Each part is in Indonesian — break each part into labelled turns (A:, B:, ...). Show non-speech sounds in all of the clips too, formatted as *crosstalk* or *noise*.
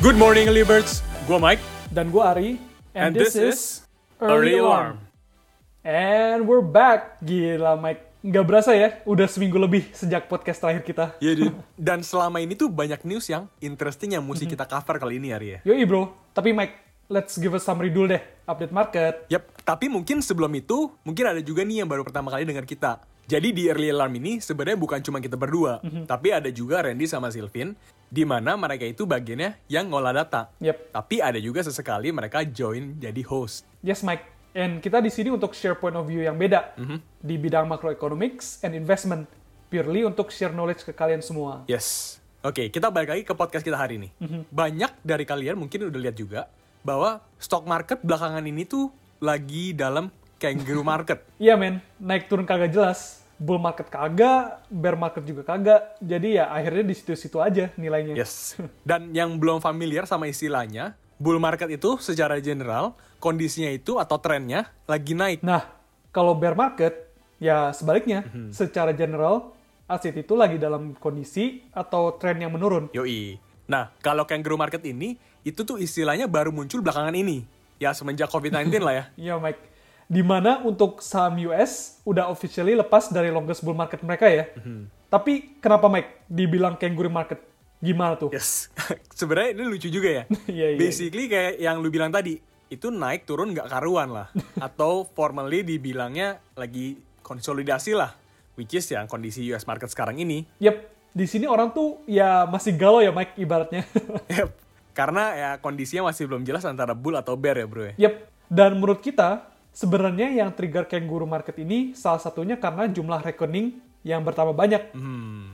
A: Good morning, Earlybirds. Gua Mike.
B: Dan gue Ari.
A: And this is Early Alarm.
B: And we're back. Gila Mike. Nggak berasa ya, udah seminggu lebih sejak podcast terakhir kita.
A: Ya, dude. Dan selama ini tuh banyak news yang interesting yang mesti kita cover kali ini, Ari ya.
B: Yoi bro, tapi Mike, let's give a summary dulu deh. Update market.
A: Yap, tapi mungkin sebelum itu, mungkin ada juga nih yang baru pertama kali dengar kita. Jadi di Early Alarm ini sebenarnya bukan cuma kita berdua, tapi ada juga Randy sama Silvin, di mana mereka itu bagiannya yang ngolah data.
B: Yep.
A: Tapi ada juga sesekali mereka join jadi host.
B: Yes Mike. And kita di sini untuk share point of view yang beda
A: Mhm.
B: di bidang macroeconomics and investment, purely untuk share knowledge ke kalian semua.
A: Yes. Oke, kita balik lagi ke podcast kita hari ini. Banyak dari kalian mungkin udah lihat juga bahwa stock market belakangan ini tuh lagi dalam kangaroo market.
B: Iya men, naik turun kagak jelas. Bull market kagak, bear market juga kagak. Jadi ya akhirnya di situ-situ aja nilainya.
A: Yes. Dan yang belum familiar sama istilahnya, bull market itu secara general kondisinya itu atau trennya lagi naik.
B: Nah, kalau bear market, ya sebaliknya. Secara general, aset itu lagi dalam kondisi atau tren yang menurun.
A: Yoi. Nah, kalau kangaroo market ini itu tuh istilahnya baru muncul belakangan ini. Ya semenjak COVID-19 lah ya.
B: Iya Mike. Dimana untuk saham US udah officially lepas dari longest bull market mereka ya. Tapi kenapa Mike dibilang kangaroo market? Gimana tuh?
A: Yes. *laughs* Sebenarnya ini lucu juga ya.
B: *laughs* Iya, iya.
A: Basically kayak yang lu bilang tadi, itu naik turun nggak karuan lah. Atau formally dibilangnya lagi konsolidasi lah. Which is yang kondisi US market sekarang ini. *laughs*
B: Yep, di sini orang tuh ya masih galau ya Mike ibaratnya. *laughs*
A: Yep. Karena ya kondisinya masih belum jelas antara bull atau bear ya bro ya.
B: Yep. Dan menurut kita, sebenarnya yang trigger kangaroo market ini salah satunya karena jumlah rekening yang bertambah banyak.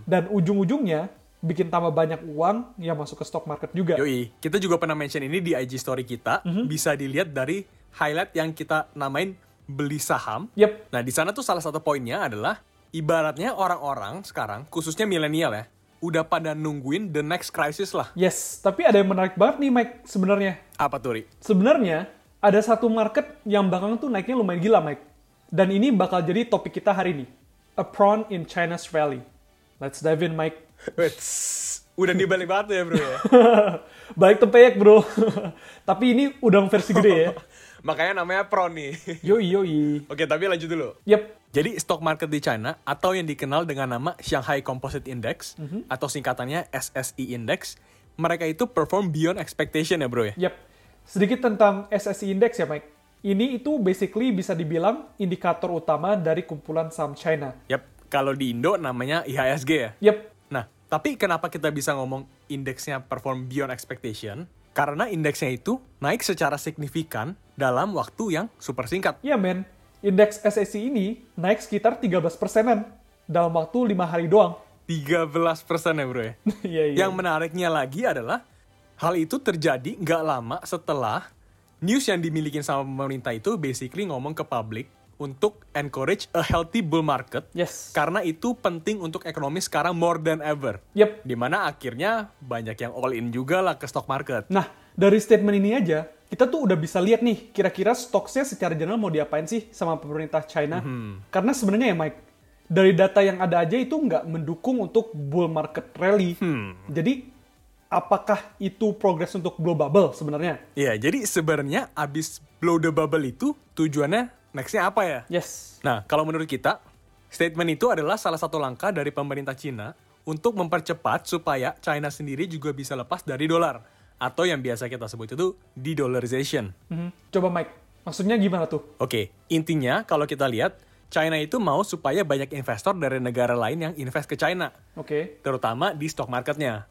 B: Dan ujung-ujungnya bikin tambah banyak uang yang masuk ke stock market juga.
A: Yoi, kita juga pernah mention ini di IG story kita. Bisa dilihat dari highlight yang kita namain beli saham.
B: Yep.
A: Nah, di sana tuh salah satu poinnya adalah ibaratnya orang-orang sekarang, khususnya milenial ya, udah pada nungguin the next crisis lah.
B: Yes, tapi ada yang menarik banget nih Mike sebenarnya.
A: Apa tuh, Ri?
B: Sebenarnya ada satu market yang belakangan tuh naiknya lumayan gila Mike. Dan ini bakal jadi topik kita hari ini. A prawn in China's Valley. Let's dive in Mike.
A: Wets, Udah dibalik batu ya, bro *laughs* ya.
B: Baik tempeyek bro. *laughs* tapi ini udang versi gede ya.
A: Makanya namanya prawn nih.
B: *laughs*
A: *laughs*
B: Yoi yoi.
A: Oke, tapi lanjut dulu.
B: Yep,
A: Jadi, stock market di China atau yang dikenal dengan nama Shanghai Composite Index atau singkatannya SSI Index, mereka itu perform beyond expectation ya, bro ya.
B: Yap. Sedikit tentang SSI Index ya, Mike. Ini itu basically bisa dibilang indikator utama dari kumpulan saham China.
A: Yap, kalau di Indo namanya IHSG ya.
B: Yap,
A: Nah, tapi kenapa kita bisa ngomong indeksnya perform beyond expectation? Karena indeksnya itu naik secara signifikan dalam waktu yang super singkat.
B: ya men. Indeks SSI ini naik sekitar 13 persenan dalam waktu lima hari doang. *laughs*
A: 13% ya bro ya.
B: Iya, iya.
A: Yang menariknya lagi adalah hal itu terjadi nggak lama setelah news yang dimiliki sama pemerintah itu basically ngomong ke publik untuk encourage a healthy bull market
B: Yes.
A: karena itu penting untuk ekonomi sekarang more than ever.
B: Yap.
A: Dimana akhirnya banyak yang all in juga lah ke stock market.
B: Nah, dari statement ini aja, kita tuh udah bisa lihat nih kira-kira stoknya secara general mau diapain sih sama pemerintah China. Karena sebenarnya ya Mike, dari data yang ada aja itu nggak mendukung untuk bull market rally. Jadi, apakah itu progres untuk blow bubble sebenarnya?
A: Ya, jadi sebenarnya abis blow the bubble itu tujuannya nextnya apa ya?
B: Yes.
A: Nah, kalau menurut kita, statement itu adalah salah satu langkah dari pemerintah Cina untuk mempercepat supaya China sendiri juga bisa lepas dari dolar atau yang biasa kita sebut itu de-dollarization.
B: Mhm. Coba Mike, maksudnya gimana tuh?
A: Oke, intinya kalau kita lihat China itu mau supaya banyak investor dari negara lain yang invest ke China,
B: Oke.
A: terutama di stock marketnya.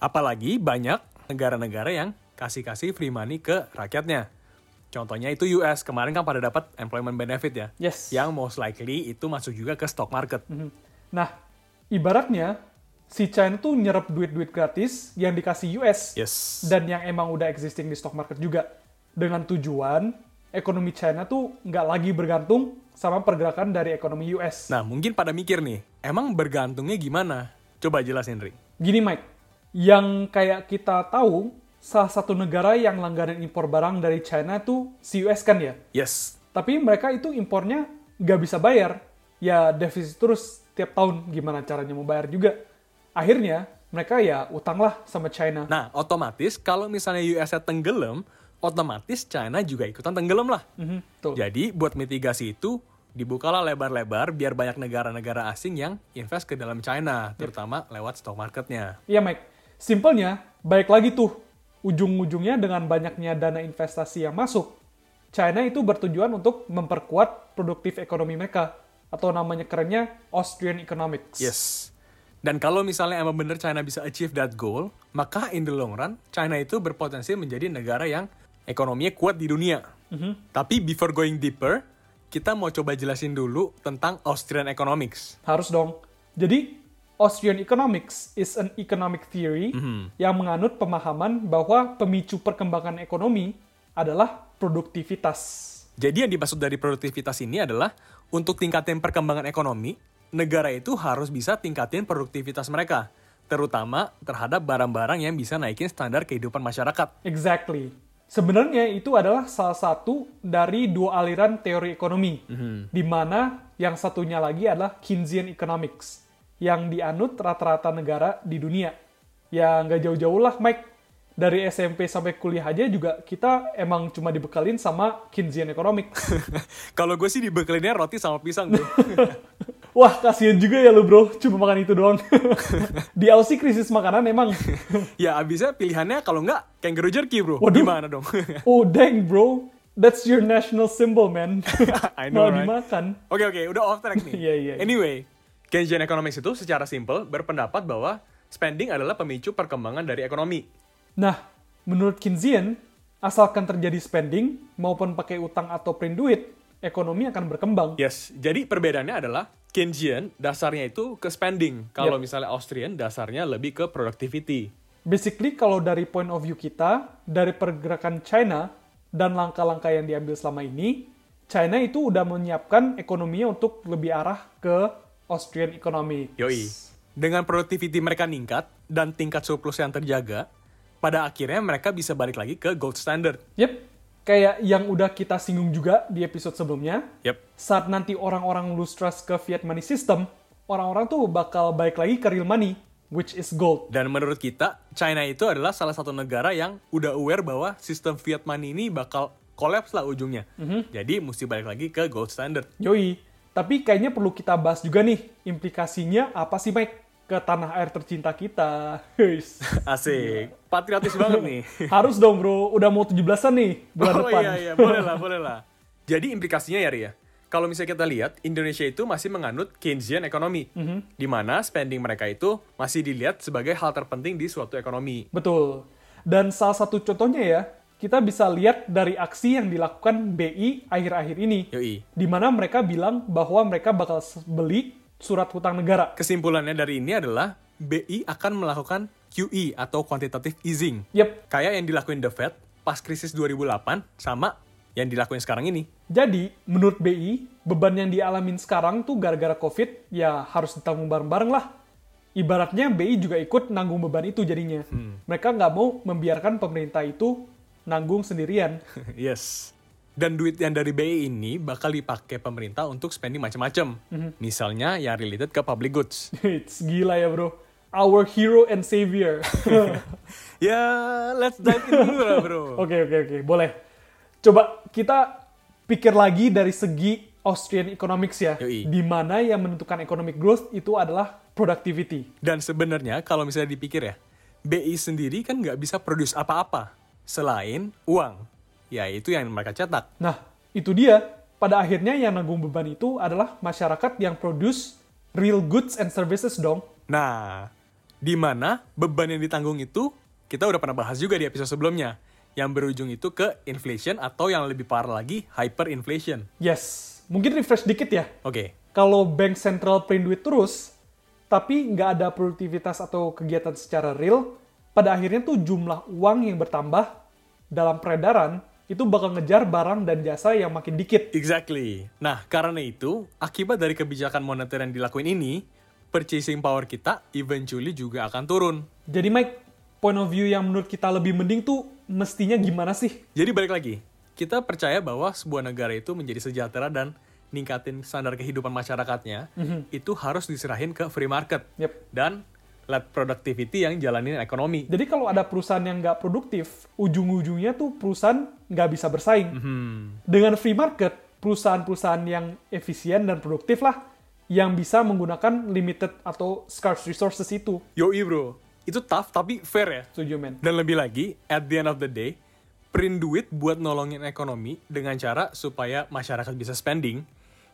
A: Apalagi banyak negara-negara yang kasih-kasih free money ke rakyatnya. Contohnya itu US, kemarin kan pada dapat employment benefit ya.
B: Yes.
A: Yang most likely itu masuk juga ke stock market.
B: Mhm. Nah, ibaratnya si China tuh nyerap duit-duit gratis yang dikasih US.
A: Yes.
B: dan yang emang udah existing di stock market juga dengan tujuan ekonomi China tuh nggak lagi bergantung sama pergerakan dari ekonomi US.
A: Nah, mungkin pada mikir nih, emang bergantungnya gimana? Coba jelasin, Ri.
B: Gini Mike, yang kayak kita tahu salah satu negara yang langganan impor barang dari China tuh si US kan ya.
A: Yes.
B: Tapi mereka itu impornya nggak bisa bayar. Ya defisit terus tiap tahun gimana caranya mau bayar juga. Akhirnya mereka ya utanglah sama China.
A: Nah, otomatis kalau misalnya US tenggelam, otomatis China juga ikutan tenggelam lah.
B: Mhm, betul.
A: Jadi buat mitigasi itu dibukalah lebar-lebar biar banyak negara-negara asing yang invest ke dalam China, terutama lewat stock marketnya.
B: Iya Mike, simpelnya balik lagi tuh ujung-ujungnya dengan banyaknya dana investasi yang masuk, China itu bertujuan untuk memperkuat produktif ekonomi mereka atau namanya kerennya Austrian Economics.
A: Yes. Dan kalau misalnya emang bener China bisa achieve that goal, maka in the long run, China itu berpotensi menjadi negara yang ekonominya kuat di dunia. Tapi before going deeper, kita mau coba jelasin dulu tentang Austrian economics.
B: Harus dong. Jadi, Austrian economics is an economic theory yang menganut pemahaman bahwa pemicu perkembangan ekonomi adalah produktivitas.
A: Jadi yang dimaksud dari produktivitas ini adalah untuk tingkatin perkembangan ekonomi, negara itu harus bisa tingkatin produktivitas mereka, terutama terhadap barang-barang yang bisa naikin standar kehidupan masyarakat. *laughs*
B: Exactly. Sebenarnya itu adalah salah satu dari dua aliran teori ekonomi,
A: Mhm.
B: di mana yang satunya lagi adalah Keynesian Economics, yang dianut rata-rata negara di dunia. Ya nggak jauh-jauh lah, Mike. Dari SMP sampai kuliah aja juga kita emang cuma dibekalin sama Keynesian
A: *laughs*
B: Economics.
A: Kalau gue sih dibekelinnya roti sama pisang, bro.
B: Wah, kasihan juga ya lu bro, cuma makan itu doang. *laughs* di Aussie krisis makanan
A: *laughs*
B: emang.
A: ya abisnya pilihannya kalau nggak kangaroo jerky, bro.
B: Waduh.
A: Gimana dong? *laughs*
B: oh dang bro, that's your national symbol man.
A: *laughs* I know,
B: Malah
A: right?
B: dimakan.
A: Oke oke, udah off track nih.
B: *laughs* Iya, iya, iya.
A: Anyway, Keynesian Economics itu secara simpel berpendapat bahwa spending adalah pemicu perkembangan dari ekonomi.
B: Nah, menurut Keynesian, asalkan terjadi spending maupun pakai utang atau print duit, ekonomi akan berkembang.
A: Yes, jadi perbedaannya adalah Keynesian dasarnya itu ke spending. Kalau misalnya Austrian dasarnya lebih ke productivity.
B: Basically, kalau dari point of view kita, dari pergerakan China dan langkah-langkah yang diambil selama ini, China itu udah menyiapkan ekonominya untuk lebih arah ke Austrian economy.
A: Yoi. Dengan productivity mereka ningkat dan tingkat surplus yang terjaga, pada akhirnya mereka bisa balik lagi ke gold standard.
B: Yep. Kayak yang udah kita singgung juga di episode sebelumnya,
A: Yep.
B: saat nanti orang-orang lose trust ke fiat money system, orang-orang tuh bakal balik lagi ke real money, which is gold.
A: Dan menurut kita, China itu adalah salah satu negara yang udah aware bahwa sistem fiat money ini bakal collapse lah ujungnya.
B: Mhm.
A: Jadi mesti balik lagi ke gold standard. *laughs*
B: Yoi, tapi kayaknya perlu kita bahas juga nih implikasinya apa sih Mike ke tanah air tercinta kita.
A: *laughs*
B: Heis. Iya.
A: Asik. Patriotis banget nih.
B: Harus dong bro, udah mau 17-an nih *laughs* bulan
A: oh
B: depan.
A: iya iya, boleh lah, boleh lah. Jadi implikasinya ya Ria, kalau misalnya kita lihat Indonesia itu masih menganut Keynesian ekonomi,
B: Mhm.
A: di mana spending mereka itu masih dilihat sebagai hal terpenting di suatu ekonomi.
B: Betul. Dan salah satu contohnya ya, kita bisa lihat dari aksi yang dilakukan BI akhir-akhir ini.
A: Yoi.
B: Di mana mereka bilang bahwa mereka bakal s- beli surat hutang negara.
A: Kesimpulannya dari ini adalah BI akan melakukan QE atau quantitative easing.
B: Yep.
A: Kayak yang dilakuin The Fed pas krisis 2008 sama yang dilakuin sekarang ini.
B: Jadi, menurut BI, beban yang dialamin sekarang tuh gara-gara COVID, ya harus ditanggung bareng-bareng lah. Ibaratnya BI juga ikut nanggung beban itu jadinya. Mereka nggak mau membiarkan pemerintah itu nanggung sendirian.
A: *laughs*
B: *laughs*
A: yes. Dan duit yang dari BI ini bakal dipakai pemerintah untuk spending macam-macam. Misalnya yang related ke public goods.
B: It's gila ya bro. Our hero and savior.
A: *laughs* Ya, let's dive in dulu lah bro.
B: Oke, oke, oke. Boleh. Coba kita pikir lagi dari segi Austrian economics ya.
A: Yoi.
B: Di mana yang menentukan economic growth itu adalah productivity.
A: *laughs* Dan sebenarnya kalau misalnya dipikir ya, BI sendiri kan nggak bisa produce apa-apa selain uang, yaitu yang mereka cetak.
B: Nah, itu dia. Pada akhirnya yang nanggung beban itu adalah masyarakat yang produce real goods and services dong.
A: Nah, di mana beban yang ditanggung itu kita udah pernah bahas juga di episode sebelumnya, yang berujung itu ke inflation atau yang lebih parah lagi hyperinflation.
B: Yes, mungkin refresh dikit ya.
A: Oke,
B: Kalau bank sentral print duit terus, tapi nggak ada produktivitas atau kegiatan secara real, pada akhirnya tuh jumlah uang yang bertambah dalam peredaran itu bakal ngejar barang dan jasa yang makin dikit.
A: exactly. Nah, karena itu akibat dari kebijakan moneter yang dilakuin ini, purchasing power kita eventually juga akan turun.
B: Jadi Mike, point of view yang menurut kita lebih mending tuh mestinya gimana sih?
A: Jadi balik lagi, kita percaya bahwa sebuah negara itu menjadi sejahtera dan ningkatin standar kehidupan masyarakatnya, itu harus diserahin ke free market.
B: Yep.
A: Dan led productivity yang jalanin ekonomi.
B: Jadi kalau ada perusahaan yang nggak produktif, ujung-ujungnya tuh perusahaan nggak bisa bersaing. Dengan free market, perusahaan-perusahaan yang efisien dan produktif lah yang bisa menggunakan limited atau scarce resources itu.
A: Yoi bro, itu tough tapi fair ya.
B: Setuju, men.
A: Dan lebih lagi, at the end of the day, print duit buat nolongin ekonomi dengan cara supaya masyarakat bisa spending,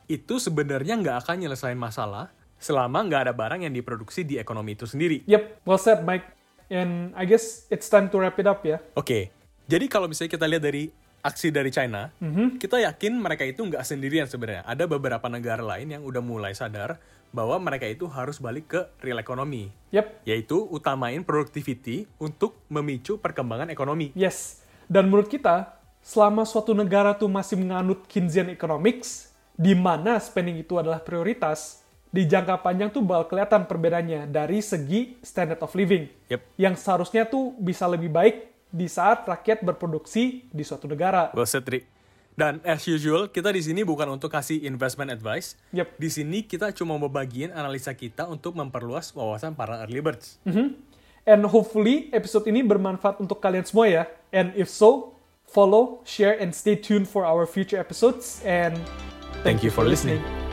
A: itu sebenarnya nggak akan nyelesain masalah selama nggak ada barang yang diproduksi di ekonomi itu sendiri.
B: Yep, well said, Mike. And I guess it's time to wrap it up ya.
A: Oke, jadi kalau misalnya kita lihat dari aksi dari China, kita yakin mereka itu nggak sendirian sebenarnya. Ada beberapa negara lain yang udah mulai sadar bahwa mereka itu harus balik ke real ekonomi,
B: Yep,
A: yaitu utamain productivity untuk memicu perkembangan ekonomi.
B: yes. Dan menurut kita, selama suatu negara tuh masih menganut Keynesian Economics, di mana spending itu adalah prioritas, di jangka panjang tuh bakal kelihatan perbedaannya dari segi standard of living.
A: Yep.
B: Yang seharusnya tuh bisa lebih baik di saat rakyat berproduksi di suatu negara.
A: Well said, Tri. Dan as usual, kita di sini bukan untuk kasih investment advice.
B: Yep.
A: Di sini kita cuma mau bagiin analisa kita untuk memperluas wawasan para early birds.
B: And hopefully episode ini bermanfaat untuk kalian semua ya. And if so, follow, share, and stay tuned for our future episodes. And
A: Thank you for listening.